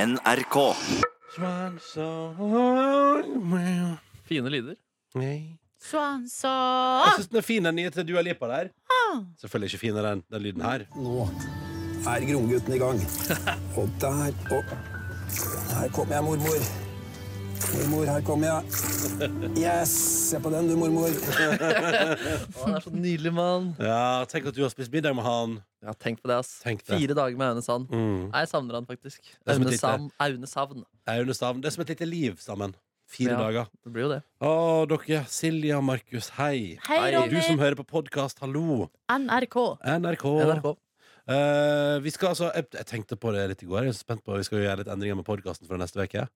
NRK. Swan song Fine lyder. Nei. Swan Jeg song. syns den er fin, den nye til Dua Lipa der. Selvfølgelig ikke finere enn den lyden her. Nå er Gromgutten i gang. Og der og Her kommer jeg, mormor. Mormor, her kommer jeg. Yes! Se på den, du, mormor. Å, han er så nydelig, mann. Ja, Tenk at du har spist middag med han. Ja, tenk på det, ass. Tenk det. Fire dager med Aune Sand. Mm. Nei, jeg savner han faktisk. er som et Aune lite- Sand. Aune Savn. Aune Stavn. Det er som et lite liv sammen. Fire Ja. dager. Det blir jo det. Å, dere. Silja og Markus, hei. Hei, Hei. Du som Ronny. hører på podkast, hallo. NRK. NRK. NRK. Eh, vi skal altså, jeg, jeg tenkte på det litt i går. Jeg er så spent på, Vi skal jo gjøre litt endringer med podkasten fra neste uke.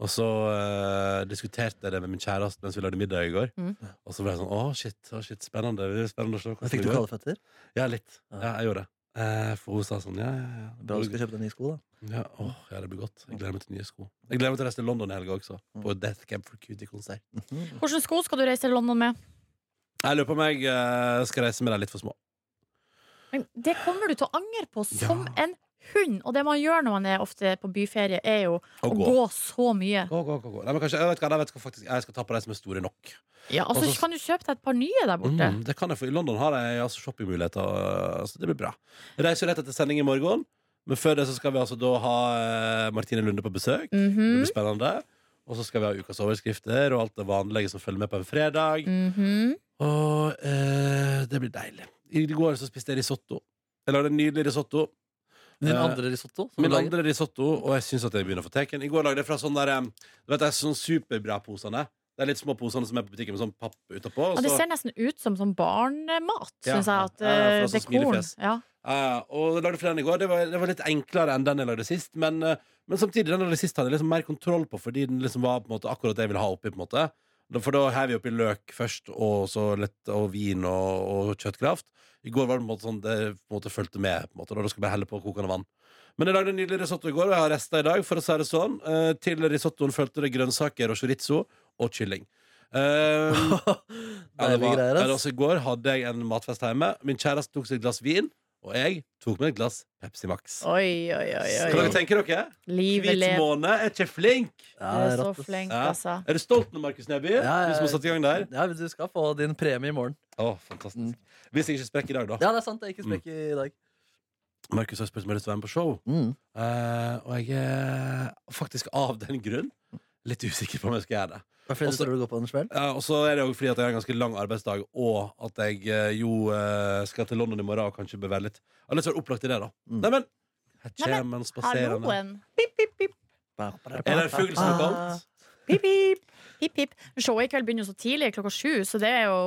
Og så eh, diskuterte jeg det med min kjæreste mens vi lagde middag i går. Mm. Og så ble jeg sånn Å, shit. Å, shit spennende. Det blir spennende å se hvordan Fikk du det går. kalde føtter? Ja, litt. Ja. Ja, jeg gjorde det. Eh, for hun sa sånn Ja, ja, ja. Bra du skal kjøpe deg nye sko, da. Ja, åh, ja, det blir godt. Jeg gleder meg til nye sko. Jeg gleder meg til å reise til London i helga også. Mm. På Death Camp for Cutie-konsert. Hvilke sko skal du reise til London med? Jeg lurer på om jeg eh, skal reise med deg litt for små. Men det kommer du til å angre på som Ja. en hund. Og det man gjør når man er ofte på byferie, er jo å Og gå, gå. så mye. Gå, gå, gå, gå. Nei, men kanskje, jeg vet hva, jeg vet hva faktisk, jeg skal ta på de som er store nok. Ja, altså, Og så- kan du kjøpe deg et par nye der borte? Mm, det kan jeg få. I London har jeg altså, shoppingmuligheter, øh, så det blir bra. Jeg reiser jo rett etter sending i morgen, men før det så skal vi altså da ha eh, Martine Lunde på besøk. Det Mhm, blir spennende. Og så skal vi ha ukas overskrifter og alt det vanlige som følger med på en fredag. mhm. Og eh, det blir deilig. I går så spiste jeg risotto. Jeg lagde en nydelig risotto. Din Eh, andre risotto? som Min du lager. andre risotto, og jeg syns at jeg begynner å få teken. I går lagde jeg fra sånn der em, Du vet, det er sånn superbra-posene. Det er litt små posene som er på butikken med sånn papp utapå. og Ja, det så- ser nesten ut som sånn barnemat, Ja, syns jeg. At, ja, ja, eh, for sånn dekoren. smilefjes. Ja. Ja, Eh, og jeg lagde flere enn i går. Det var, det var litt enklere enn den jeg lagde sist. Men, eh, men samtidig, den jeg lagde sist hadde jeg liksom mer kontroll på, fordi den liksom var på en måte akkurat det jeg ville ha oppi. på en måte Da- For da heiv vi oppi løk først, og så litt og vin og, og kjøttkraft. I går var det på en måte sånn det på en måte fulgte med. på en måte Da skulle jeg bare helle på kokende vann. Men jeg lagde en nydelig risotto i går, og jeg har rester i dag. for å si det sånn Eh, Til risottoen fulgte det grønnsaker og chorizo og kylling. Eh, ja, det Deilige var, greier, men ass. også I går hadde jeg en matfest hjemme. Min kjæreste tok seg et glass vin, og jeg tok meg et glass Pepsi Max. Oi, oi, oi. Hva oi. dere tenker dere? Livet Hvit lever. måne er ikke flink! Du Ja, er så rattes. flink, Ja. altså. Er du stolt nå, Markus Neby? Ja, ja, Du som har satt i gang der? Ja, men Du skal få din premie i morgen. Å, fantastisk. Hvis jeg ikke sprekker i dag, da. Ja, det er sant. Jeg ikke sprekker i dag. Markus har spurt om jeg har lyst til å være med på show, Mm. Eh, og jeg er faktisk av den grunn litt usikker på om jeg skal gjøre det. Hva flere Også- tror du går på den smell? Ja, og så er det jo fordi at jeg har en ganske lang arbeidsdag, og at jeg eh, jo eh, skal til London i morgen og kanskje bør være litt Jeg har litt sånn opplagt i det, da. Mm. Neimen, her Neimen, kommer han spaserende. Halloen. Er det en fugl som har kommet? Pip, pip. Pip, pip. Showet i kveld begynner jo så tidlig, klokka sju, så det er jo,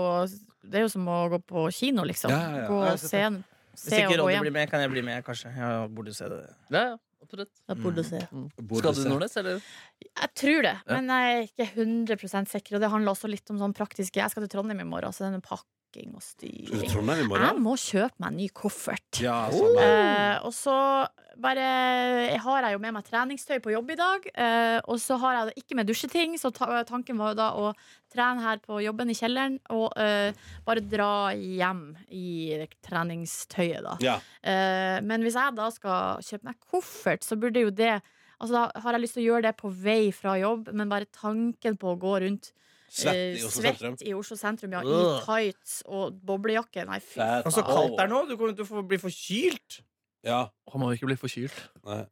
det er jo som å gå på kino, liksom. Ja, ja, ja. Ja, Gå og jeg skal se, en- Hvis se og ikke gå Ronny hjem. blir med, kan jeg bli med, kanskje. Jeg burde se det. Ja, ja. Absolutt. Da burde du se. Mm. Burde Skal du se. Nordnes, eller? Jeg tror det, men jeg er ikke 100 sikker. Og det handler også litt om sånn praktiske Jeg skal til Trondheim i morgen, så det er noe pakking og Skal du til styring. Trondheim i Jeg morgen? må kjøpe meg en ny koffert. Ja, samme. Eh, og så bare jeg har jeg jo med meg treningstøy på jobb i dag. eh, og så har jeg det ikke med dusjeting, så ta, tanken var jo da å trene her på jobben i kjelleren. Og eh, bare dra hjem i treningstøyet, da. Ja. Eh, men hvis jeg da skal kjøpe meg koffert, så burde jo det Altså Da har jeg lyst til å gjøre det på vei fra jobb, men bare tanken på å gå rundt Svett eh, i Oslo svett sentrum. i Oslo sentrum, ja, i Ugh. tights og boblejakke Nei, fy Fett. Og så kaldt det er nå! Du kommer til å få bli forkylt! Ja. Han må jo ikke bli forkylt. Nei.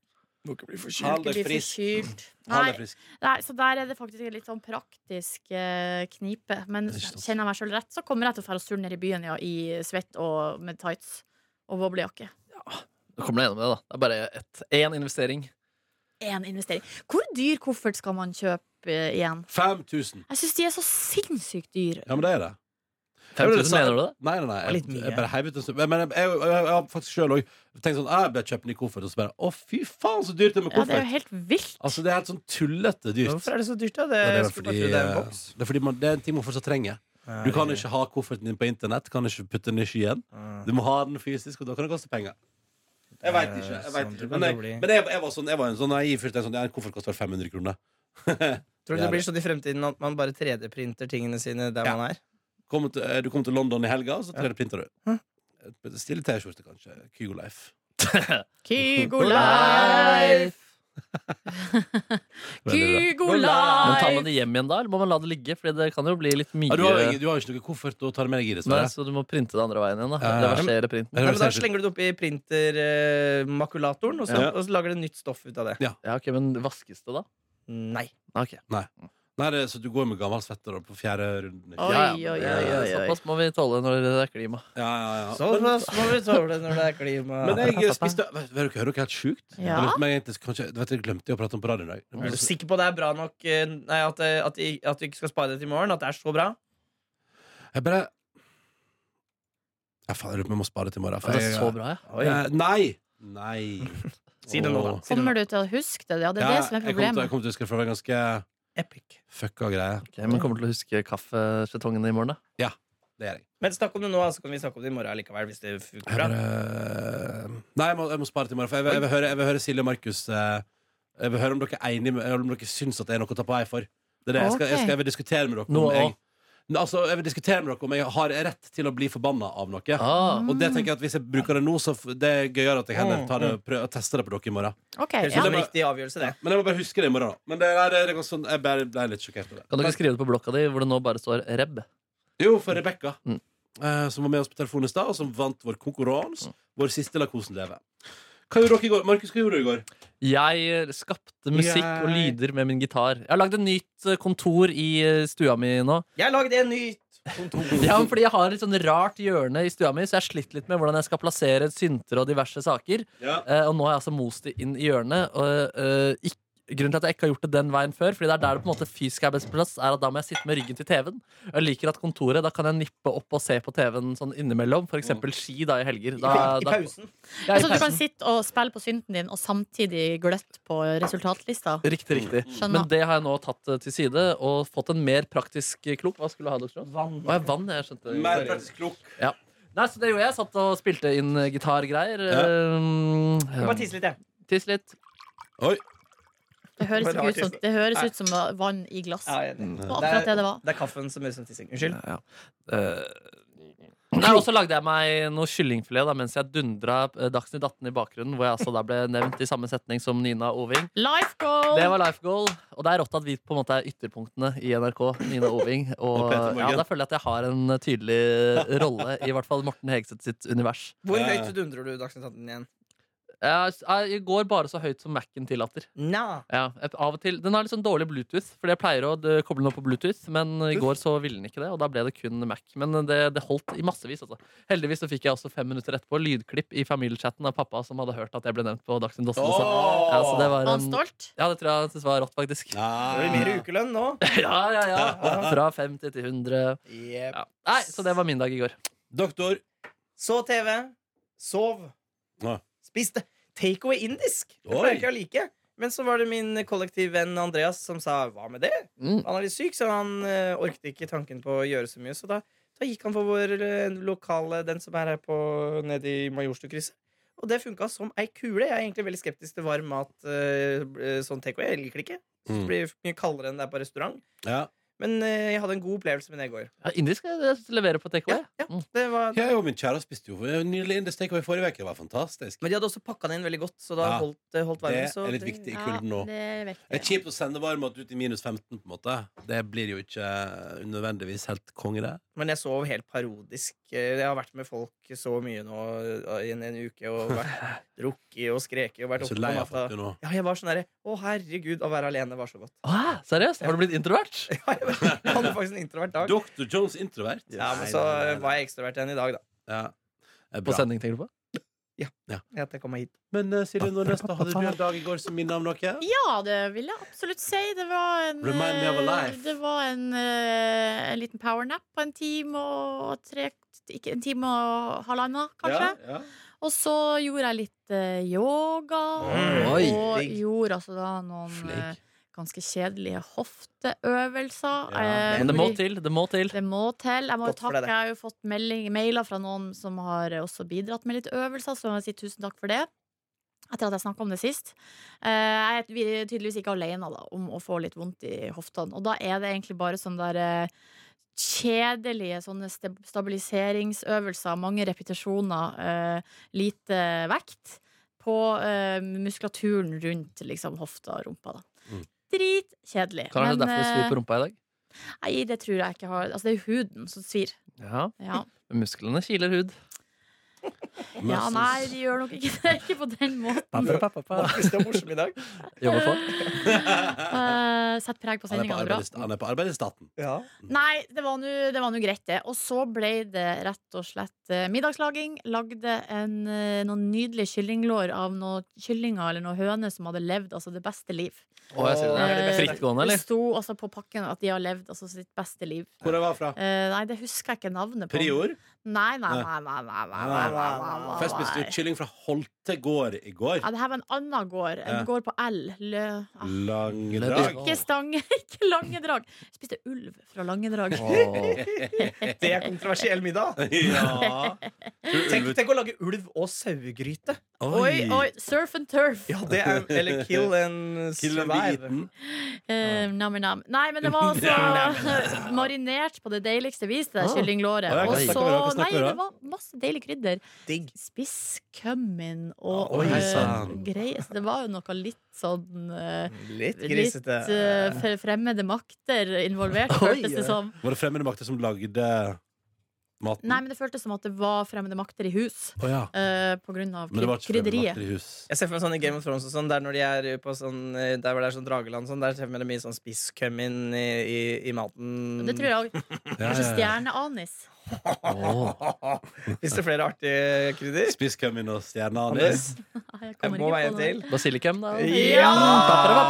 Du må ikke bli forkylt. Hold Ikke deg bli frisk. forkylt. Hold Nei, deg frisk. Nei, så der er det faktisk en litt sånn praktisk eh, knipe. Men Det er ikke sant. kjenner jeg meg sjøl rett, så kommer jeg til å dra og surre ned i byen ja, i svett og med tights og boblejakke. Du kommer deg gjennom det, da. Det er bare ett- én investering. Én investering. Hvor dyr koffert skal man kjøpe eh, igjen? 5000. Jeg syns de er så sinnssykt dyre. Ja, men det er det. 5000, mener du det? Nei, nei, nei. var litt Jeg, mye. jeg bare heiv ut en stund. Men jeg, jeg, jeg, jeg har faktisk sjøl òg tenkt sånn Jeg bør kjøpe ny koffert, og så bare Å, fy faen, så dyrt det er med Ja, det er koffert! jo helt vilt. Altså, det er helt sånn tullete dyrt. Hvorfor er det så dyrt, da? Det, Ja, det, jeg er vel skulle fordi, bare tro det er en eh, boks. Eh, det er fordi man, det er en ting man fortsatt trenger. Du kan ikke ha kofferten din på internett, kan ikke putte den i skyen. Du må ha den fysisk, og da kan det koste penger. Jeg veit Det er ikke. jeg sånn vet det ikke. kan Men, det jeg, bli. men jeg, jeg, var sånn, jeg var en sånn naiv fyr. tenkte Sånn, ja, en koffert koster vel 500 kroner. Tror du Ja, det det- blir sånn i fremtiden at man bare 3D-printer tingene sine der Ja. man er? Kommer til, eh, du kommer til London i helga, så 3D-printer du. Hm. Et Stille T-skjorte, kanskje. Kygo Life. Kygo Life. Veldig bra. Kygo Men tar man Live! det hjem igjen da, eller må man la det ligge? Fordi det kan jo bli litt mye Ja, du, har jo, ingen- du har jo ikke noe koffert å ta det med deg i. Nei, dessverre. Så du må printe det andre veien igjen, da. Ja, ja. Reversere printen. Eller Nei, hva men da sier du? slenger du det oppi printermakulatoren, eh, og, så- Ja. og så lager det nytt stoff ut av det. Ja, ok, Men vaskes det da? Nei. Ok. Nei, det, så du går med gammel svette da, på fjerde runden. Oi, Ja, oi, ja, oi, men, eh, oi, oi. Såpass må vi tåle når det er klima. Ja, ja, ja. Så må vi tåle når det er klima. Men jeg spiste Vet vet dere, hører dere helt sjukt? Ja. Jeg lurte meg egentlig- kanskje- vet dere, glemte jeg å prate om på radioen i dag. Er du sikker på det er bra nok? eh, Nei, at, eh, at, de- at du ikke skal spare det til i morgen? At det er så bra? Jeg bare Ja, faen, jeg lurer på om jeg må spare til i morgen. for Det er jeg- så bra, ja. Eh, Nei! Nei. Si det nå, da. Åh. Si det nå. Kommer du til å huske det? Ja, det er det som er jeg kommer til- Jeg problemet. kommer til å huske det, for det var en ganske Epic. fucka greie. Ok, men kommer til å huske kaffetjetongene i morgen, da? Det er jeg. Men snakk om det nå, så kan vi snakke om det i morgen likevel. Hvis det funker jeg bra. bare... Nei, jeg må, jeg må spare til i morgen, for jeg vil, jeg vil, høre, jeg vil høre Silje og Markus eh, Jeg vil høre om dere er enige med Eller om dere syns at det er noe å ta på vei for. Det er det. Jeg, skal, jeg, skal, jeg vil diskutere med dere om Noe jeg, også? Nei, altså, jeg vil diskutere med dere om jeg har rett til å bli forbanna av noe. Ah, Og det tenker jeg at Hvis jeg bruker det nå, så f- det er gøyere at jeg heller Mm, tar det, prøver, tester det på dere i morgen. Ok, Høres ut ja. som en riktig avgjørelse, det. Men jeg må bare huske det i morgen. da Men det, nei, det, det går sånn, jeg bare ble litt sjokkert over det. Kan du ikke skrive det på blokka di hvor det nå bare står reb? Jo, for Rebekka, Mm. eh, som var med oss på telefonen i stad, og som vant vår konkurranse. Mm. Vår siste La kosen leve. Hva gjorde dere i går? Markus, hva gjorde du i går? Jeg eh, skapte musikk og Jeg- lyder med min gitar. Jeg har lagd et nytt eh, kontor i eh, stua mi nå. Jeg lagde en ny kontor. Ja, men fordi Jeg har et sånn rart hjørne i stua mi, så jeg har slitt litt med hvordan jeg skal plassere synter og diverse saker. Ja. Eh, og nå har jeg altså most det inn i hjørnet. Og, eh, ikk- grunnen til at jeg ikke har gjort det den veien før, Fordi det er der det på en måte fysisk er best plass, er at da må jeg sitte med ryggen til TV-en. Og jeg liker at kontoret, da kan jeg nippe opp og se på TV-en sånn innimellom. For eksempel ski da i helger. Da, I da, pausen. Ja, i Så Altså, du kan pausen. sitte og spille på synten din og samtidig gløtt på resultatlista? Riktig, riktig. Skjønner. Men det har jeg nå tatt eh, til side og fått en mer praktisk eh, klok. Hva skulle du ha, doktor? Vann. Å, jeg vann, jeg skjønte. Mer praktisk klok. Nei, så det gjorde jeg. Jeg Satt og spilte inn eh, gitargreier. Jeg bare Ja. tisse litt, jeg. Tiss litt. Oi. Det høres, ikke ut, som, det høres ut som vann i glass. Ja, Det jeg er enig. var akkurat det det var. Det er kaffen som høres ut som tissing. Unnskyld. Ja. Eh, Nei, og så lagde jeg meg noe kyllingfilet da, mens jeg dundra eh, Dagsnytt 18 i bakgrunnen, hvor jeg altså da ble nevnt i samme setning som Nina Oving. Life Det goal! var life goal, og det er rått at vi på en måte er ytterpunktene i NRK. Nina Oving. Og Og Peter Morgan. ja, da føler jeg at jeg har en tydelig rolle i hvert fall Morten Hegseth sitt univers. Hvor Ja, ja. høyt dundrer du Dagsnytt 18 igjen? Jeg, jeg går bare så høyt som Mac-en tillater. Nja. Ja, et- av og til, den har litt sånn dårlig Bluetooth, Fordi jeg pleier å eh, koble den opp på Bluetooth. Men i går så ville den ikke det, og da ble det kun Mac. Men eh, det, det holdt i massevis. Altså. Heldigvis så fikk jeg også fem minutter etterpå lydklipp i familiechatten av pappa som hadde hørt at jeg ble nevnt på Dagsnytt 18. også. Åh! Ja, så det var Var han en- stolt? ja, det tror jeg han syntes var rått, faktisk. Det blir mer ukelønn nå. Ja, ja, ja. Fra 50 til 100. Jep. Ja. Nei, så det var min dag i går. Doktor. Så TV. Sov. Ja. Spiste takeaway indisk. Det Oi. pleier jeg ikke å like. Men så var det min kollektivvenn Andreas som sa 'hva med det'? Mm. Han er litt syk, så han eh, orket ikke tanken på å gjøre så mye. Så da, da gikk han for vår eh, lokale, den som er her på, nede i Majorstukrysset. Og det funka som ei kule. Jeg er egentlig veldig skeptisk til varm mat. eh, eh, sånn takeaway. Jeg liker det ikke. Det Mm. blir mye kaldere enn det er på restaurant. Ja. Men eh, jeg hadde en god opplevelse med det i går. Ja, indisk eh, jeg, jeg leverer på takeaway. Ja, Mm. Det var, Jeg og min kjære spiste jo nylig indisk takeaway i forrige uke. Det var fantastisk. men de hadde også pakka den inn veldig godt, så da Ja. holdt, det holdt Det varmen. så er litt viktig i Ja, kulden nå. det er Det er viktig. kjipt å sende varmmat ut i minus 15, på en måte. Det blir jo ikke eh, nødvendigvis helt konge, det. Men jeg sov helt parodisk. Eh, Jeg har vært med folk så mye nå eh, i en, en uke og vært drukket og skreket og Jeg vært er oppe så på lei av natta. folk nå. Ja, jeg var sånn derre Å, herregud, å være alene var så godt. Ah, seriøst? Har du blitt introvert? Ja, jeg var- jeg hadde faktisk en introvert dag. Dr. Jones introvert. Ja, men Nei, så eh, nei, nei, nei. var jeg ekstrovert igjen i dag, da. ja. Det er På bra. sending, tenker du på? At jeg kom meg hit. Men eh, Silje Nordnes, da hadde du en dag i går som minner om noe? Ja, det vil jeg absolutt si. Det var en, Remind me of a eh, life. det var en, eh, en liten powernap på en time og tre ikke, En time og halvannen, kanskje. Ja, ja. Og så gjorde jeg litt eh, yoga. Mm. Oi, og digg. gjorde altså da noen Flink. eh, ganske kjedelige hofteøvelser. Ja, eh, Men det må fordi- til. Det må til. Det må til. Jeg må jo Godt for takke. deg, det. Jeg har jo fått melding, mailer fra noen som har eh, også bidratt med litt øvelser, så jeg må si tusen takk for det. Etter at jeg snakka om det sist. Eh, Jeg er tydelig- tydeligvis ikke alene da, om å få litt vondt i hoftene. Og da er det egentlig bare sånn der eh, Kjedelige sånne stab- stabiliseringsøvelser, mange repetisjoner, eh, lite vekt. på eh, muskulaturen rundt liksom, hofta og rumpa. Da. Mm. Dritkjedelig. Kan være det derfor det svir på eh, rumpa i dag? nei, det tror jeg ikke har Altså, det er jo huden som svir. Ja, Ja, Musklene kiler hud. ja nei, de gjør nok ikke det. Ikke på den måten. Markus, du er morsom i dag. Jobber på. Eh, Sett preg på Han er på sendinga, det er bra. arbeid i sta- han er på arbeid i staten. Ja. Nei, det var nå- det var nå greit, det. Og så ble det rett og slett eh, middagslaging. Lagde en, eh, noen nydelige kyllinglår av noen kyllinger eller noen høner som hadde levd altså det beste liv. Å, jeg sier det. Eh, Frittgående, Det eller? sto altså på pakken at de har levd altså sitt beste liv. Hvor jeg var fra? Eh, nei, det husker jeg ikke navnet på. Prior. Nei, nei, nei, nei, nei, nei, nei, nei, nei, nei. Først spiste vi kylling fra Holte gård i går. Ja, det her var en annen gård. En Ja. gård på L. Lø... Ah, Langdrag. ikke Stange, ikke Langedrag. Jeg spiste ulv fra Langedrag. Åh. eh, Det er kontroversiell middag. Ja. Tenk, tenk å lage ulv og sauegryte. Oi, oi, surf and turf. Ja, det er, eller kill and Kill and be survive. eaten. Eh, nam, nam. Nei, men det var altså marinert på det deiligste vis, det der Ah. kyllinglåret. Ah, ja, Og hva snakker så vi da? Hva snakker Nei, vi da? det var masse deilig krydder. Digg. Spiss kummin og Oi, eh, sann. greier. Så det var jo noe litt sånn eh, Litt Litt grisete. eh, fre- fremmede makter involvert, Oi, føltes det ja. som. Var det fremmede makter som lagde maten? Nei, men det føltes som at det var fremmede makter i hus. Å ja. eh, på grunn av Men det var ikke fremmede krydderiet. makter i hus. Jeg ser for meg sånn i Game of Thrones og sånn, der når de er på sånn eh, Der hvor det er sånn drageland og sånn, der ser jeg for meg det er mye sånn spisskummin i, i, i maten. Det tror jeg òg. Kanskje stjerneanis. Hvis det er flere artige krydder. Spiss kummin og stjerneanis. Nei, Ah, Jeg, Jeg kommer må ikke veie på det. til. Basilikum, da. Ja!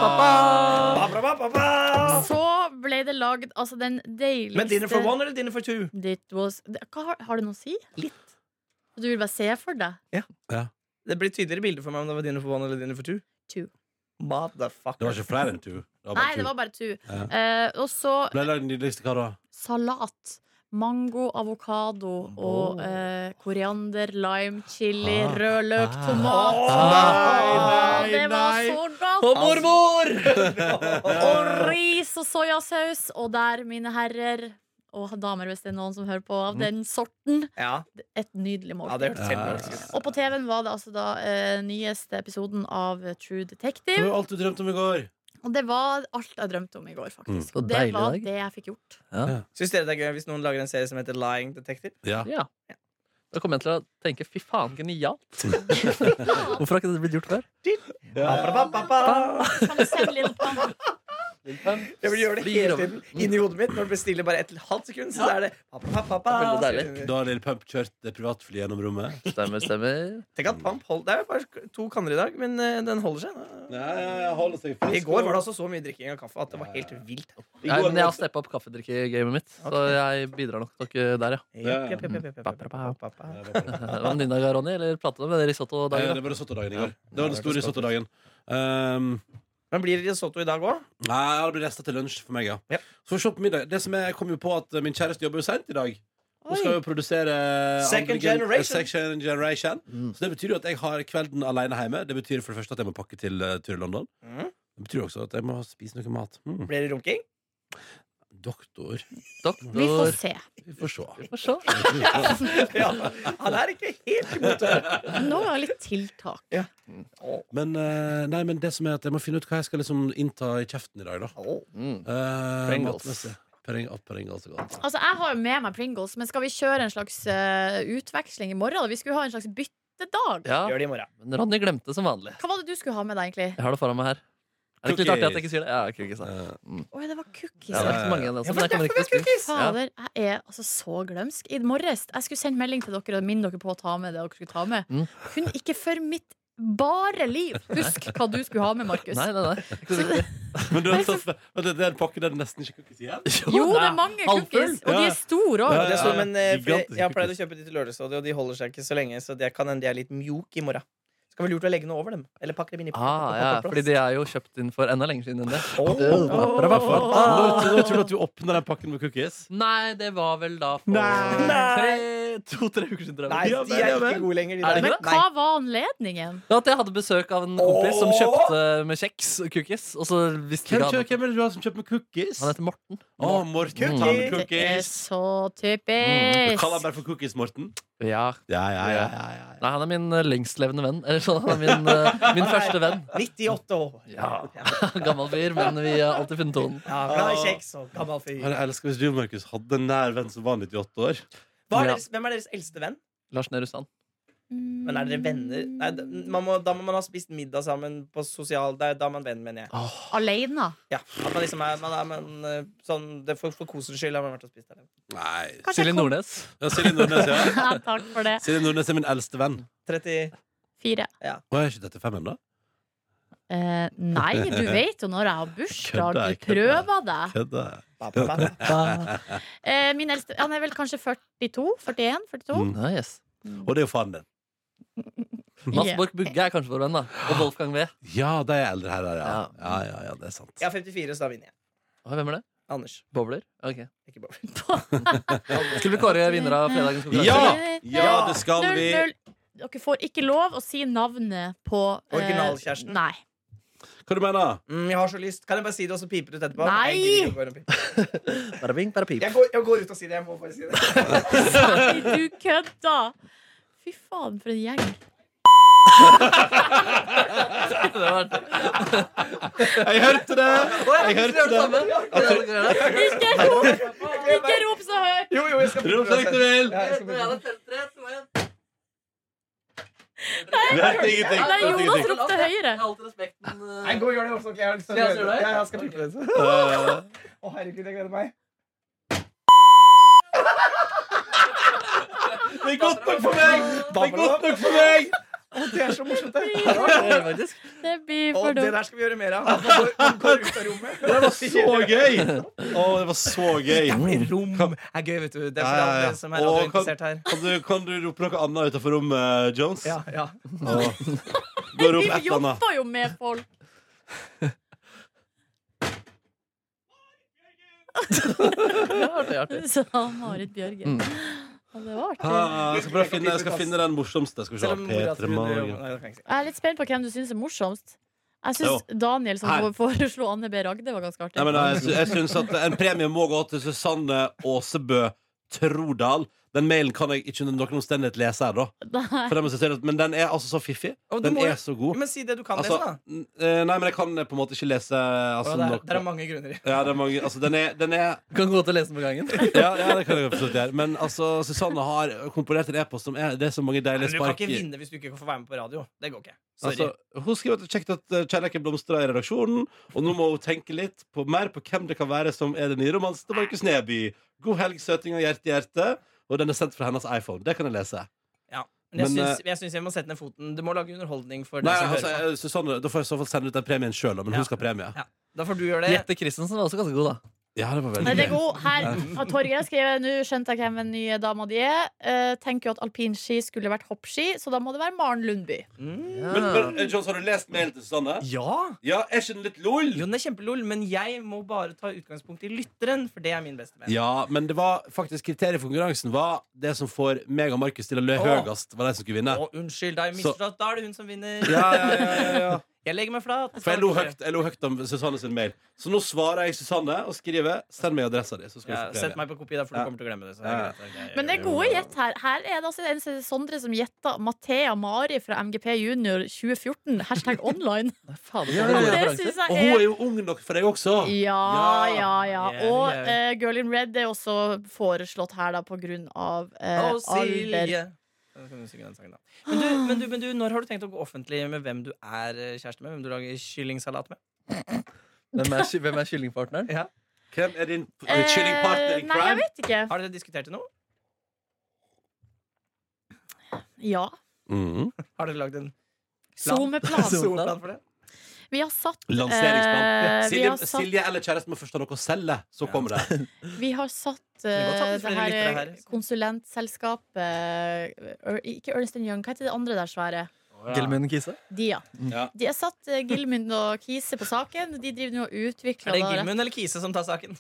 Ba-ba-ba-ba-ba! Ba-ba-ba-ba-ba! Så ble det lagd altså den deiligste Men dinner for one eller dinner for two? It was det- Hva, har- Har det noe å si? Litt. Du vil bare se for deg? Det blir tydeligere bilde for meg om det var dinner for one eller dinner for two. Two. Det Motherfucker. var ikke flere enn to. Det var bare Nei, det to. var bare to. Ja. Eh, og så Ble det lagd nydeligste hva da? salat. Mango, avokado og eh, koriander, lime, chili, Ah. rød løk, Ah. tomat. Ah. Åh, Nei, nei, det var nei. så godt! Og mormor! Og ris og soyasaus. Og der, mine herrer og damer, hvis det er noen som hører på Mm. av den sorten, Ja, et nydelig ja, det måltid. hørtes helt norsk ut. og på TV-en var det altså da eh, nyeste episoden av True Det var Detective. jo alt du drømte om i går. Og det var alt jeg drømte om i går, faktisk. Mm. Og det Så deilig var dag. det jeg fikk gjort. Syns dere det er gøy hvis noen lager en serie som heter Lying Detective? Ja. Ja. Da kommer jeg til å tenke fy faen, genialt. Hvorfor har ikke det blitt gjort før? Ba-ba-ba-ba-ba. Kan du sende litt på den? Jeg vil gjøre det Flyr hele over. tiden. Inni hodet mitt. Når det blir stille bare et halvt sekund, så er det Veldig ba-ba-ba-ba-ba. deilig. Da har Lille Pump kjørt det privatflyet gjennom rommet. Stemmer, stemmer. Tenk at Pamp holdt Det er jo bare to kanner i dag, men eh, den holder seg. I går var det altså så mye drikking av kaffe at det var helt vilt. Nei, men jeg har steppa opp kaffedrikkegamet mitt, så jeg bidrar nok til dere der, ja. Jepp, Ja. jepp, jepp, jepp, jepp, jepp, jepp, jepp. Hva med dine dager, Ronny? Eller pratet du med dere risotto-dager? Eh, Det var risottodagen i går. Det var den Ja, store risottodagen. Um, Men blir det risotto i dag òg? Nei, det blir resta til lunsj for meg, ja. Ja. Så får vi se på middag. Det som er, jeg kom jo på at eh, Min kjæreste jobber jo seint i dag. Hun skal jo produsere andre Second gen- generation. eh, second generation. Mm. Så det betyr jo at jeg har kvelden alene hjemme. Det betyr for det første at jeg må pakke til eh, tur i London. Mm. Det betyr også at jeg må spise noe mat. Mm. Blir det runking? Doktor. Eh, Vi får Doktor se. Vi får se. Vi får se. Ja, han er ikke helt imot det. Nå var det litt tiltak. Men, eh, nei, men det som er at jeg må finne ut hva jeg skal liksom innta i kjeften i dag, da. Mm. Eh, Pringles. matmessig. Pring- at Pringles er godt. Altså, Jeg har jo med meg Pringles, men skal vi kjøre en slags eh, utveksling i morgen? da? Vi skulle ha en slags byttedag. Ja, Gjør det i morgen. men Ronny glemte som vanlig. Hva var det du skulle ha med deg, egentlig? Jeg har det foran meg her. Er det ikke litt Cookies. artig at jeg ikke sier det? Ja, cookies, da. Eh, Å ja, det var cookies. Ja, det er ikke så mange av dem, Ja, så for jeg kommer ikke til å spise. Ja. Fader, jeg er altså så glømsk. I morges jeg skulle sende melding til dere og minne dere på å ta med det dere skulle ta med. Mm. Kunne ikke for mitt bare liv husk hva du skulle ha med, Markus. Nei, nei, nei. Ikke så Så- viktig. Men du har tatt Men det, det er en pakke der det nesten ikke kan igjen? Jo, det da. er mange Halvfull. cookies, og de Ja. er store òg. Ja, Det er sånn, men, eh, for jeg Gigantiske jeg har pleid å kjøpe de til Lørdagsrådet, og de holder seg ikke så lenge. Så det kan hende de er litt mjuke i morgen. Skal være lurt å legge noe over dem. Eller pakke dem inn i Ah, ja, fordi de er jo kjøpt inn for enda lenger siden enn det. Når, når tror du at du åpner den pakken med cookies? Nei, det var vel da for Nei. tre to-tre uker siden. tror jeg. Nei, Ja, de er ikke ja, vel. gode lenger, de Er det der. ikke Nei. Men hva var anledningen? Ja, at jeg hadde besøk av en kompis som kjøpte med kjeks og cookies. Og så visste Hvem, ikke kjø- han hvem er det du har som kjøper med cookies? Han heter Morten. Å, Cookies. Mm, Morten tar med Det er cookies. så Du kaller han typisk! bare for Cookies, Morten? Ja. Ja, ja, ja. ja, ja, ja. Nei, han er min eh, lengstlevende venn. Eller sånn, han er min, eh, min første venn. 98 år. Ja. ja. Gammel fyr, men vi har alltid funnet tonen. Ja, glad i kjeks og gammel fyr. Jeg elsker hvis du, Markus, hadde en nær venn som var 98 år. Hva er Ja. deres, hvem er deres eldste venn? Lars Nehru Sand. Mm. Men er dere venner? Nei, d- man må, da må man ha spist middag sammen på sosial Da, da er man venn, mener jeg. Aleine? Ja, at man liksom er, man er man, eh, sånn, det for, for kosens skyld har man vært og spist alene. Nei. Silje Nordnes. Ja, Silje Nordnes, ja. Ja, takk for det. Silje Nordnes er min eldste venn. 30 Fire. Å, jeg er ikke 35 ennå. Eh, nei, du vet jo når jeg har bursdag. Kødda, jeg Du prøver deg. Kødder. ba, ba, ba. Ah, Eh, min eldste Han er vel kanskje 42? 41? 42? Mm. nice. Og det er jo faren din. Mads Yeah. Borch Bugge er kanskje vår venn, da. Ah. Og Wolfgang V. Ja, de er eldre her, ja. Ja. Ja, ja, ja, det er sant. Jeg er 54, så da vinner jeg. Å, Hvem er det? Anders. Bobler? Ok. Ikke Bobby. Skulle vi kåre vinner av fredagens konkurranse? Ja! Ja, det skal Null, vi. null. Dere får ikke lov å si navnet på eh, Originalkjæresten. Nei. Hva du mener du? Mm, jeg har så lyst. Kan jeg bare si det, og så piper du ut etterpå? Nei! Jeg, gidder ikke å gå rundt og pipe. Bare bing, bare pip. jeg, går, jeg går ut og sier det. Jeg må bare si det. Nei, du kødda! Fy faen, for en gjeng. Det var artig. Jeg hørte det! Jeg hørte det! Ja, Ikke rop, ikke rop så høyt! Jo, jo, jeg skal Rop så høyt du vil! Ja, jeg skal prøve. Vi hørte ingenting. Nei, Vi hørte Jonas ingenting. ropte høyere. Nei, gå og gjør det også. ok? Jeg har lyst til å gjøre Skal jeg gjøre det. det? Ja, jeg skal pipe det. Eh, Å, herregud, jeg gleder meg. Det er godt nok for meg! Det er godt nok for meg! Å, det er så morsomt, det. Det blir Og for det dumt. der skal vi gjøre mer av. Altså, Man går, man går ut av rommet. Det var så gøy! Å, det var så gøy. Rom er gøy, vet du. Det er for Ja, ja, ja. alle som er Og radiointeressert her. Kan du, kan du rope noe annet utenfor rommet, Jones? Ja, ja. Å. Gå og rop et Vi eller annet. jobber jo med folk. Sa Marit Bjørgen. Ja, det var Mm. Ha, artig. jeg, skal prøve å finne, jeg skal finne den morsomste. Skal vi se. Selv om mora Petre skulle Morgen. jobbe- Nei, det kan jeg ikke si. Jeg er litt spent på hvem du syns er morsomst. Jeg syns Daniel som Her. får- foreslo Anne B. Ragde, var ganske Nei, artig. men eh, jeg, sy- jeg synes at En premie må gå til Susanne Åsebø Trodal. Den mailen kan jeg ikke under noen omstendighet lese her, da. Nei. For den må jeg si at- men den er altså så fiffig. Å, du Den må jo- er så god. Men si det du kan Altså, lese, da. n- eh, nei, men jeg kan på en måte ikke lese Å, altså, det, er, nok- det er mange grunner. ja, det er mange, altså, den er, den er Kan gå til å lese den på gangen. ja, ja, det kan jeg absolutt gjøre. Men altså, Susanne har komponert en e-post som er Det er så Men mange deilige du kan spark ikke i. vinne hvis du ikke får være med på radio. Det går ikke. Sorry. Altså, hun skriver at det er kjekt at eh, kjærligheten blomstrer i redaksjonen, og nå må hun tenke litt på, mer på hvem det kan være som er den nye romansen til Markus Neby. God helg, søting av hjerte i hjerte. Og den er sendt fra hennes iPhone. Det kan jeg lese. men jeg, men, eh, syns, jeg syns jeg må sette ned foten. Du må lage underholdning for Nei, de som altså, hører på. eh, Susanne, Da får jeg i så fall sende ut den premien sjøl, men Ja. hun skal ha premie. Ja. Da får du gjøre det. Jette Christensen var også ganske god, da. Ja, det var Nei, veldig det er god. Her har Torgeir skrevet Nå skjønte jeg hvem den nye dama di er. Eh, tenker jo at alpinski skulle vært hoppski, så da må det være Maren Lundby. Mm. Ja. Men, men eh, Jones, har du lest mailen til Susanne? Ja! Ja, er ikke den litt lol? Jo, den er kjempelol, men jeg må bare ta utgangspunkt i lytteren, for det er min beste venn. Ja, men det var faktisk kriteriet for konkurransen var det som får meg og Markus til å le Åh. høyest, var de som skulle vinne. Å, unnskyld, da er jeg misforstått. Da er det hun som vinner. Ja, ja, ja, ja, ja. Jeg legger meg flat. For jeg lo høyt, jeg lo høyt om Susanne sin mail. Så nå svarer jeg Susanne og skriver 'send meg adressa di'. Så skal Ja, du få sett premie. meg på kopi, da, for du Ja. kommer til å glemme det. Så det Ja. er greit, ok, Men det er gode gjett her. Her er det altså en som- Sondre som gjetta Mathea Mari fra MGP Junior 2014. Hashtag online. Nei, faen, Ja, det var ja, mange ja. Det referanser. syns jeg Og hun er er jo ung nok for deg også. ja, ja, ja. Ja, Og ja. eh, Girl in Red er også foreslått her, da, på greit. grunn av eh, Å, Silje. alder. Da kan du synge den sangen, da. Men, du, men, du, men du, når har du tenkt å gå offentlig med hvem du er eh, kjæreste med? Hvem du lager kyllingsalat med? Hvem er, ky- hvem er kyllingpartneren? Hvem er din eh, Eh, kyllingpartner in nei, jeg crime? vet ikke. Har dere diskutert det nå? Ja. Mm. Har dere lagd en SoMe-plan. solplan for det? Vi har satt Lanseringsplan. eh, vi Silje, har satt- Silje eller kjæresten må først ha noe å selge. Så Ja. kommer det. Vi har satt er godt at eh, det er det flere her lyttere her. eh, konsulentselskapet eh, Ør- Ikke Ernst Young, hva heter det andre der svære? Å, Gelmund Kise? De, ja. Ja. De har satt eh, Gilmund og Kise på saken. De driver nå og utvikler Er det da rett- Gilmund eller Kise som tar saken?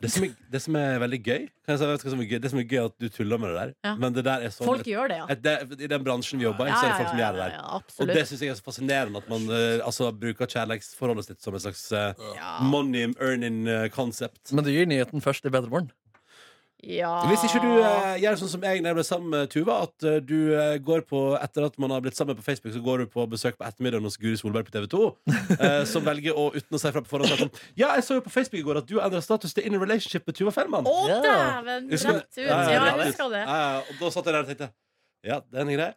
Det som, er, det som er veldig gøy kan jeg si, vet du hva som er gøy? Det som er gøy er at du tuller med det der Ja. Men det der er sånn Folk gjør det, ja. et, det, I den bransjen vi jobber i, så er det folk som gjør det der ja, Og det absolutt. synes jeg er så fascinerende At man eh, altså, bruker kjærlighetsforholdet sitt som et slags eh, Ja. Money earning eh, concept Men du gir nyheten først i Bedreborn. Ja. Hvis ikke du eh, gjør sånn som jeg når jeg ble sammen med Tuva, at eh, du eh, går på Etter at man har blitt sammen på Facebook, så går du på besøk på ettermiddagen hos Guri Solberg på TV2, eh, som velger å uten å si fra på forhånd si sånn Ja, jeg så jo på Facebook i går at du endra status til in a relationship med Tuva Fellmann. Å, Ja. dæven! Husker du Rett ut. det? Ja, Ja, ja, jeg rett ut. husker det. Ja, ja, og da satt jeg der og tenkte Ja, den er grei.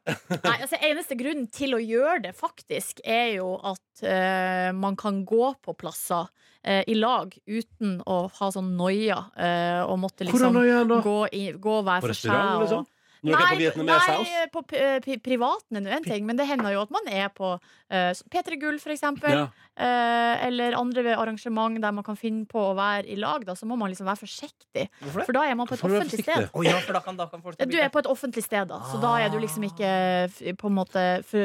Nei, altså Eneste grunnen til å gjøre det, faktisk, er jo at eh, man kan gå på plasser eh, i lag uten å ha sånn noia eh, og måtte liksom Hvordan gjør jeg da? gå, i, gå hver På for seg. restaurant, og- liksom? Når dere er på Nei, vietnamese house? nei, på p- eh, pri- privaten er nå en ting, men det hender jo at man er på eh, P3 Gull, for eksempel. Ja. eh, eller andre arrangement der man kan finne på å være i lag. Da, så må man liksom være forsiktig, Hvorfor det? for da er man på et Hvorfor er du offentlig forsiktig? sted. Å ja, for da kan, da kan folk Ja, Du er på et offentlig sted, da, så da er du liksom ikke f- på en måte f-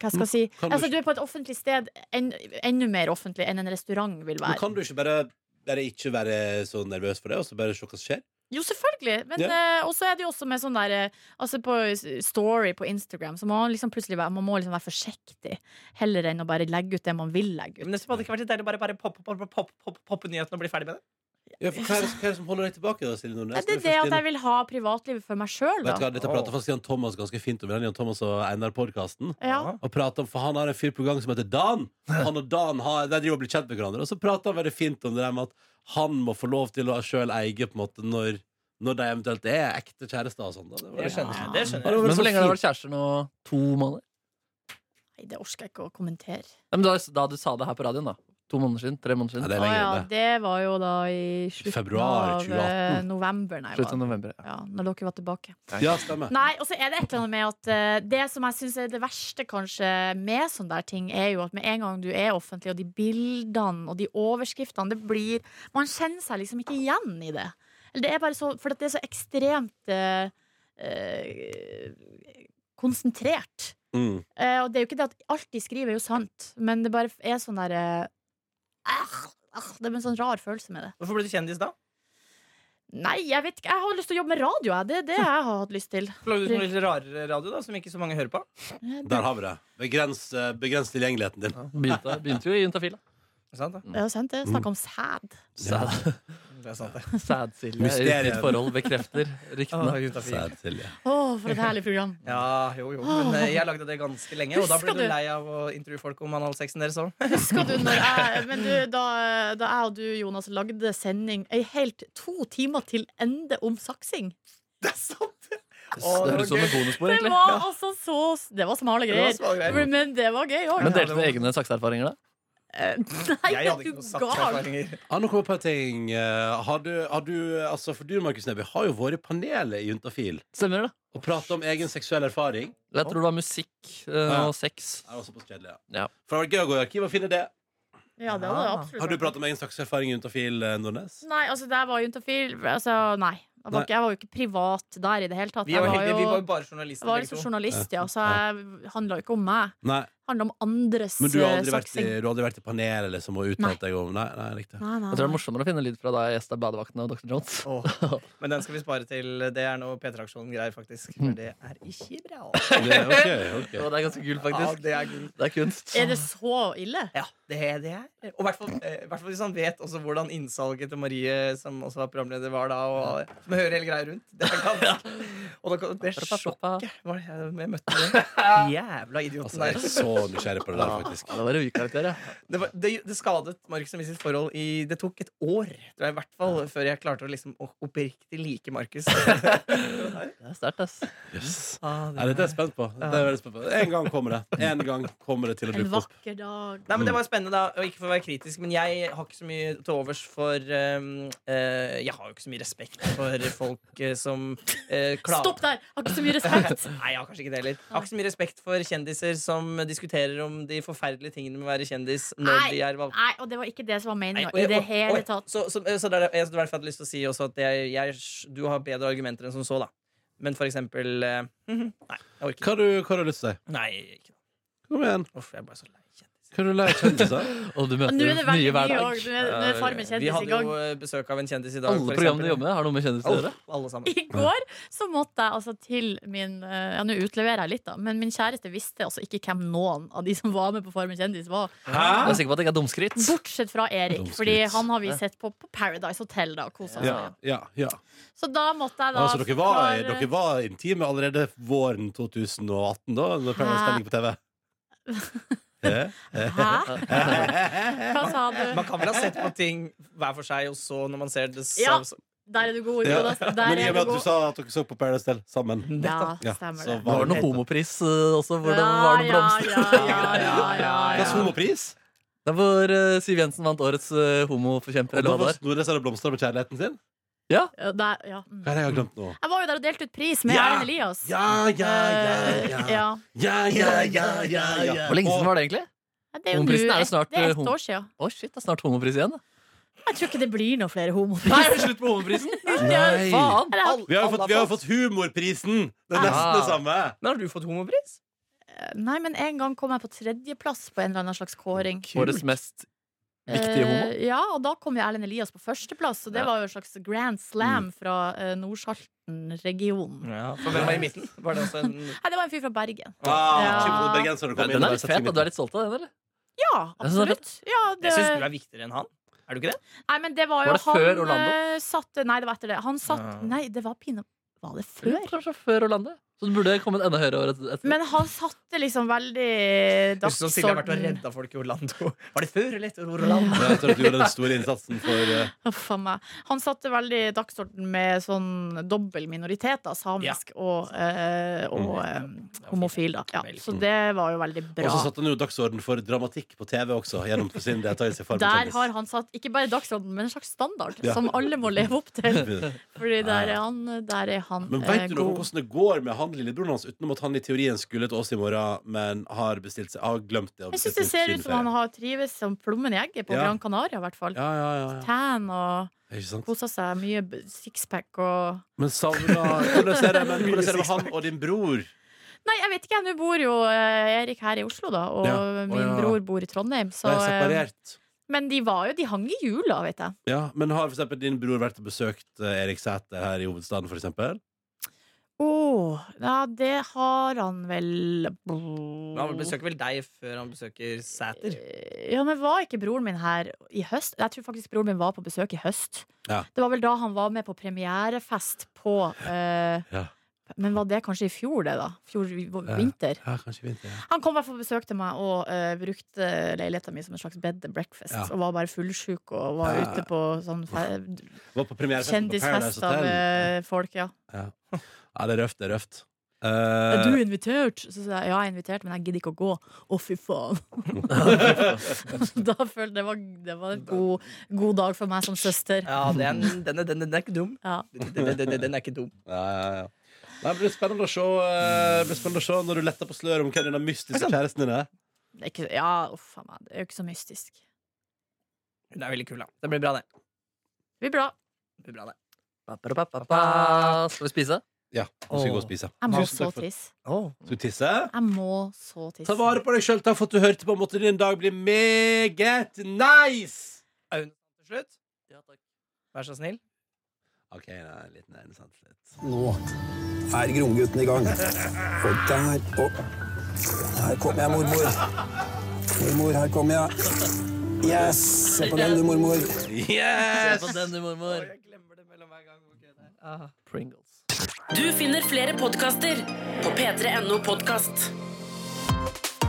Hva skal jeg si? Kan du Altså, ikke- du er på et offentlig sted en, enda mer offentlig enn en restaurant vil Men være. kan du ikke bare, bare ikke være så nervøs for det, og så bare se hva som skjer? Jo, selvfølgelig. Men eh, også er det jo også med sånn der eh, Altså på s- story på Instagram så må man liksom plutselig være, man må liksom være forsiktig heller enn å bare legge ut det man vil legge ut. Men nettopp hadde det ikke vært litt deilig å bare, bare poppe pop, pop, pop, pop, poppe nyheten og bli ferdig med det? Ja, for hva er det hva er det som holder deg tilbake? da, Silje Nordnes? Er det Du det først at inn- jeg vil ha privatlivet for meg sjøl, Vet du da? hva, Dette prater faktisk Jan Thomas ganske fint om. i den Jan Thomas og Einar-podkasten. Ja. Og prater om, for Han har en fyr på gang som heter Dan. Han og Dan har, de driver og blir kjent med hverandre. Og så prater han veldig fint om det der med at han må få lov til å sjøl eie på en måte når, når de eventuelt er ekte kjærester. og sånn. da. Det var- Det skjønner jeg. Det skjønner jeg. Ja, det var Men så hvor lenge har dere fint. vært kjærester nå? To måneder? Nei, det orker jeg ikke å kommentere. Nei, men da, da du sa det her på radioen, da. To måneder siden? Tre måneder Ja, det er siden? Å lenger ja, enn det. det var jo da i slutten Februar av eh, 2018. november, nei. Slutt av var det. november. ja. Ja, når dere var tilbake. Ja, stemmer. Nei, og så er det et eller annet med at eh, Det som jeg syns er det verste kanskje med sånne der ting, er jo at med en gang du er offentlig, og de bildene og de overskriftene det blir, Man kjenner seg liksom ikke igjen i det. Eller det er bare så, For at det er så ekstremt eh, eh, konsentrert. Mm. Eh, og det er jo ikke det at alt de skriver, er jo sant, men det bare er sånn der eh, ah, ah, Det er en sånn rar følelse med det. Hvorfor ble du kjendis da? Nei, jeg vet ikke. Jeg har lyst til å jobbe med radio. Jeg. Det er det jeg har hatt lyst til. Lagde du noe litt rarere radio da, som ikke så mange hører på? Der har vi det. Begrens, eh, begrens tilgjengeligheten din. Begynte, begynte jo i Juntafil. da. Er det sant, det? Det er jo sant, det. Snakk om sæd. Ja. Sad, Det er sant, det. sad Silje. Mysterium. Ditt forhold bekrefter Åh, ryktene. Jutta Fie. Sær, Silje. Å, for et herlig program. Ja, jo, jo. Men eh, jeg lagde det ganske lenge, og da ble Husker du du? lei av å intervjue folk om analsexen deres òg. Husker du når jeg Men du, da, da jeg og du, Jonas, lagde sending ei helt to timer til ende om saksing Det er sant! Det høres ut som et bonusspor, Det egentlig. var altså så Det var smale Det var greier. små greier. Men det var gøy òg. Men delte dere egne sakseerfaringer, da? Nei, Jeg hadde du ikke noe gal. sakserfaringer. Ja, nå kommer jeg på en ting. Eh, Har du, har du, altså, for du, Markus Neby, har jo vært i panelet i Juntafil Stemmer det? og pratet om egen seksuell erfaring. Jeg tror det var musikk eh, Ja. og sex. Det er også på kjedelig, ja. Ja. For det har vært gøy å gå i arkivet og finne det. Ja, det hadde jeg absolutt. Har du pratet om egen sakserfaring i Juntafil, eh, Nordnes? Nei, altså, der var juntafil Altså, nei. Jeg var, Nei. ikke, jeg var jo ikke privat der i det hele tatt. Vi var, Jeg heldige, vi var jo, jo bare jeg journalister, var begge liksom to. journalist, ja, så det handla jo ikke om meg. Nei. Det handla om andres Men du har eh, aldri vært i, saksing. du har aldri vært i panelet liksom, og Nei. uttalt deg om Nei, nei riktig. Nei, nei, Jeg tror det er nei. morsommere å finne lyd fra da jeg gjesta Badevakten og Dr. Jones. Åh, Men den skal vi spare til. Det er noe P3-aksjonen greier, faktisk. For det er ikke bra. Det, ok, ok. Og det er ganske kult, Ja, faktisk. det er gull. Det er kunst. Er det så ille? Ja, det er det er. Og i hvert fall eh, hvert fall hvis han vet også hvordan innsalget til Marie, som også var programleder, var da. Og, som hører hele greia rundt. Det er ganske- Og da, kom- det sjokket var det jeg jeg møtte den jævla idioten Altså, jeg der. er så nysgjerrig på det Ah. der, faktisk. Ja, det var revykarakter, ja. Det, var, det, det skadet Markus og mitt sitt forhold i Det tok et år, tror jeg, i hvert fall, før jeg klarte å liksom å- oppriktig like Markus. Det er sterkt, ass. Yes. Ah, det Nei, dette er jeg spent på. Det er jeg veldig spent på. En gang kommer det. En gang kommer det til å En dukke opp. vakker dag. Nei, men Det var spennende, da. Og ikke for å være kritisk, men jeg har ikke så mye til overs for um, eh, Jeg har jo ikke så mye respekt for folk eh, som eh, klager Stopp der! Har ikke så mye respekt. Nei, jeg har kanskje ikke det heller. Jeg Ah. har ikke så mye respekt for kjendiser som diskuterer om de forferdelige tingene med å være kjendis når Nei. de er valgt. Nei, og det var ikke det som var Nei, meninga og i jeg- det og- hele og- tatt. Så, så, så der, jeg, så derfor hadde jeg lyst til å si også at jeg, jeg, du har bedre argumenter enn som så, da. Men for eksempel eh, Nei, jeg orker ikke. Hva har du, hva har du lyst til å si? Nei, ikke. Kom igjen. Uff, jeg er bare så lei kjendiser. Kan du lære kjendiser? Og du Og møter nå er det veldig nye hver mye dag. òg. Nå er nå er Farmen Vi kjendis i hadde gang. jo eh, besøk av en kjendis i dag. Alle for programmene eksempel. du jobber med, har noe med kjendiser å Alle, gjøre. alle sammen. I går så måtte jeg altså til min eh, Ja, nå utleverer jeg litt, da. Men min kjæreste visste altså ikke hvem noen av de som var med på Farmen kjendis, var. Jeg er sikker på at det ikke er dumskritt. Bortsett fra Erik, Dumskritt. fordi han har vi sett på, på Paradise Hotel da, og kosa oss. Ja, ja, ja. Så da måtte jeg da Altså, dere var, forklare- dere var intime allerede våren 2018, da? Når Paradise Hotel gikk på TV? Eh? Hæ? Hva sa du? Man kan vel ha sett på ting hver for seg, og så når man ser det Ja. så- Der er du god, Ja. Jonas. Men Der i og er med du at du god. sa at dere så på Paradise Hotel sammen. Ja, Ja, stemmer så det. Var det noe homopris eh, også? Hvor det Ja, var noen ja, blomster? ja, ja, ja, Hva ja, slags ja. homopris? Det var eh, Siv Jensen vant årets eh, Og homoforkjemper, da eller hva var det var. Snorre som hadde blomster med kjærligheten sin? Ja, Der, ja. Mm. Hva er det jeg har glemt nå? Jeg var jo der og delte ut pris med Ja! Erlend Elias. Ja, ja, ja, ja. Eh, ja. Ja, ja, ja, ja, ja. Hvor lenge siden var det egentlig? Ja, Det er jo nå Homoprisen er jo ett, snart, det er eh, hom- ett år siden. Å shit, det er snart homopris igjen. da. Jeg tror ikke det blir noen flere Nei, homopriser. er det slutt på homoprisen? Nei. Faen! Eller, Alle- Vi har jo alle fått, vi har jo fått humorprisen! Det er nesten det Ah. samme. Men har du fått homopris? Nei, men en gang kom jeg på tredjeplass på en eller annen slags kåring. Årets mest viktige homo. Eh, ja, og da kom jo Erlend Elias på førsteplass, og det Ja. Mm. var jo en slags grand slam fra eh, Nordsalten-regionen. Ja, for hvem var i midten? Var det også en Nei, det var en fyr fra Bergen. Ah, Ja. kjempe- bergensere kom inn og Den er bare litt setter seg fet, midt og du er litt stolt av den, eller? Ja, Jeg synes det er absolutt. Ja, Jeg syns du er viktigere enn han. Er du ikke det? Nei, men det var jo Var det før han Orlando? eh, satte Nei, det var etter det. Han satt Ja. Nei, det var pinadø Var det Eller før? Kanskje før Orlando. Så den burde kommet enda høyere året etter. Men han satte liksom veldig Husker du Silje har vært og dagsorden. redda folk i Orlando? Var det før eller etter Orlando? Ja, jeg tror at du gjorde den store innsatsen for eh, Uff a meg. Han satte veldig dagsorden med sånn dobbel minoritet, da. Samisk og, eh, og eh, homofil, da. Ja, så det var jo veldig Og bra. så satte han jo dagsorden for dramatikk på TV også, gjennom sin deltakelse i Farmen Der kjendis. har han satt ikke bare dagsorden, men en slags standard Ja. som alle må leve opp til. Fordi der er han, der er han Men eh, veit du noe om god. hvordan det går med han lillebroren hans, utenom at han i teorien skulle til oss i morgen, men har bestilt seg Har glemt det. og Jeg bestilt syns det seg ser siden ut som han ferie. har trives som plommen i egget på Ja. Gran Canaria, i hvert fall. ja, ja, ja, ja. Tan og Ikke sant? kosa seg. Mye b- sixpack og Men savna Hvordan ser det men hvordan ser det med han og din bror? Nei, jeg vet ikke. Nå bor jo eh, Erik her i Oslo, da. Og Ja. Å, min ja. bror bor i Trondheim. Så, De er eh, separert. men de var jo De hang i jula, vet jeg. Ja, men har for eksempel din bror vært og besøkt eh, Erik Sæter her i hovedstaden, for eksempel? Å Ja, det har han vel Men han besøker vel deg før han besøker Sæter? Eh, Ja, men var ikke broren min her i høst? Jeg tror faktisk broren min var på besøk i høst. Ja. Det var vel da han var med på premierefest på eh, Ja. Men var det kanskje i fjor, det, da? Fjor vi- vinter? Ja, kanskje vinter. Ja. Han kom i hvert fall og besøkte meg og eh, brukte leiligheta mi som en slags bed and breakfast. Ja. Og var bare fullsjuk og var Ja. ute på sånn fe- Var på premierefesten på Paradise kjendisfest av Hotel. eh, folk, ja. Ja, det er røft, det er røft. Er du Eh, invitert? Så sa jeg ja, jeg er invitert, men jeg gidder ikke å gå. Å, fy faen. da følte det var, det var en god, god dag for meg som søster. Ja, den, den, er- den, den er ikke dum. Ja. Den, den, den, den er ikke dum. ja, ja, ja. Nei, det blir spennende å se, eh, det blir spennende å se når du letter på sløret om hvem denne mystiske kjæresten din er. Det er Ikke, ja, uff a meg. Det er jo ikke så mystisk. Den er veldig kul, da. Det blir bra, det. Det blir bra. det, blir bra, det. Ba, ba, ba, ba, ba. Skal vi spise? Ja, nå skal vi Åh. gå og spise. Jeg må Tusen så takk for- tisse. Skal du tisse? Jeg må så Ta tisse. vare på deg sjøl. Takk for at du hørte på. Måtte din dag bli meget nice! Til slutt, Ja, takk. vær så snill. OK, nei, litt nei, det er sant, litt. Nå er Gromgutten i gang. Og der og Her kommer jeg, mormor. Mormor, her kommer jeg. Yes! Se på den, du, mormor. Se Yes! på den, du, mormor. Ah. glemmer det mellom hver gang. Pringles. Du finner flere podkaster på p3.no podkast.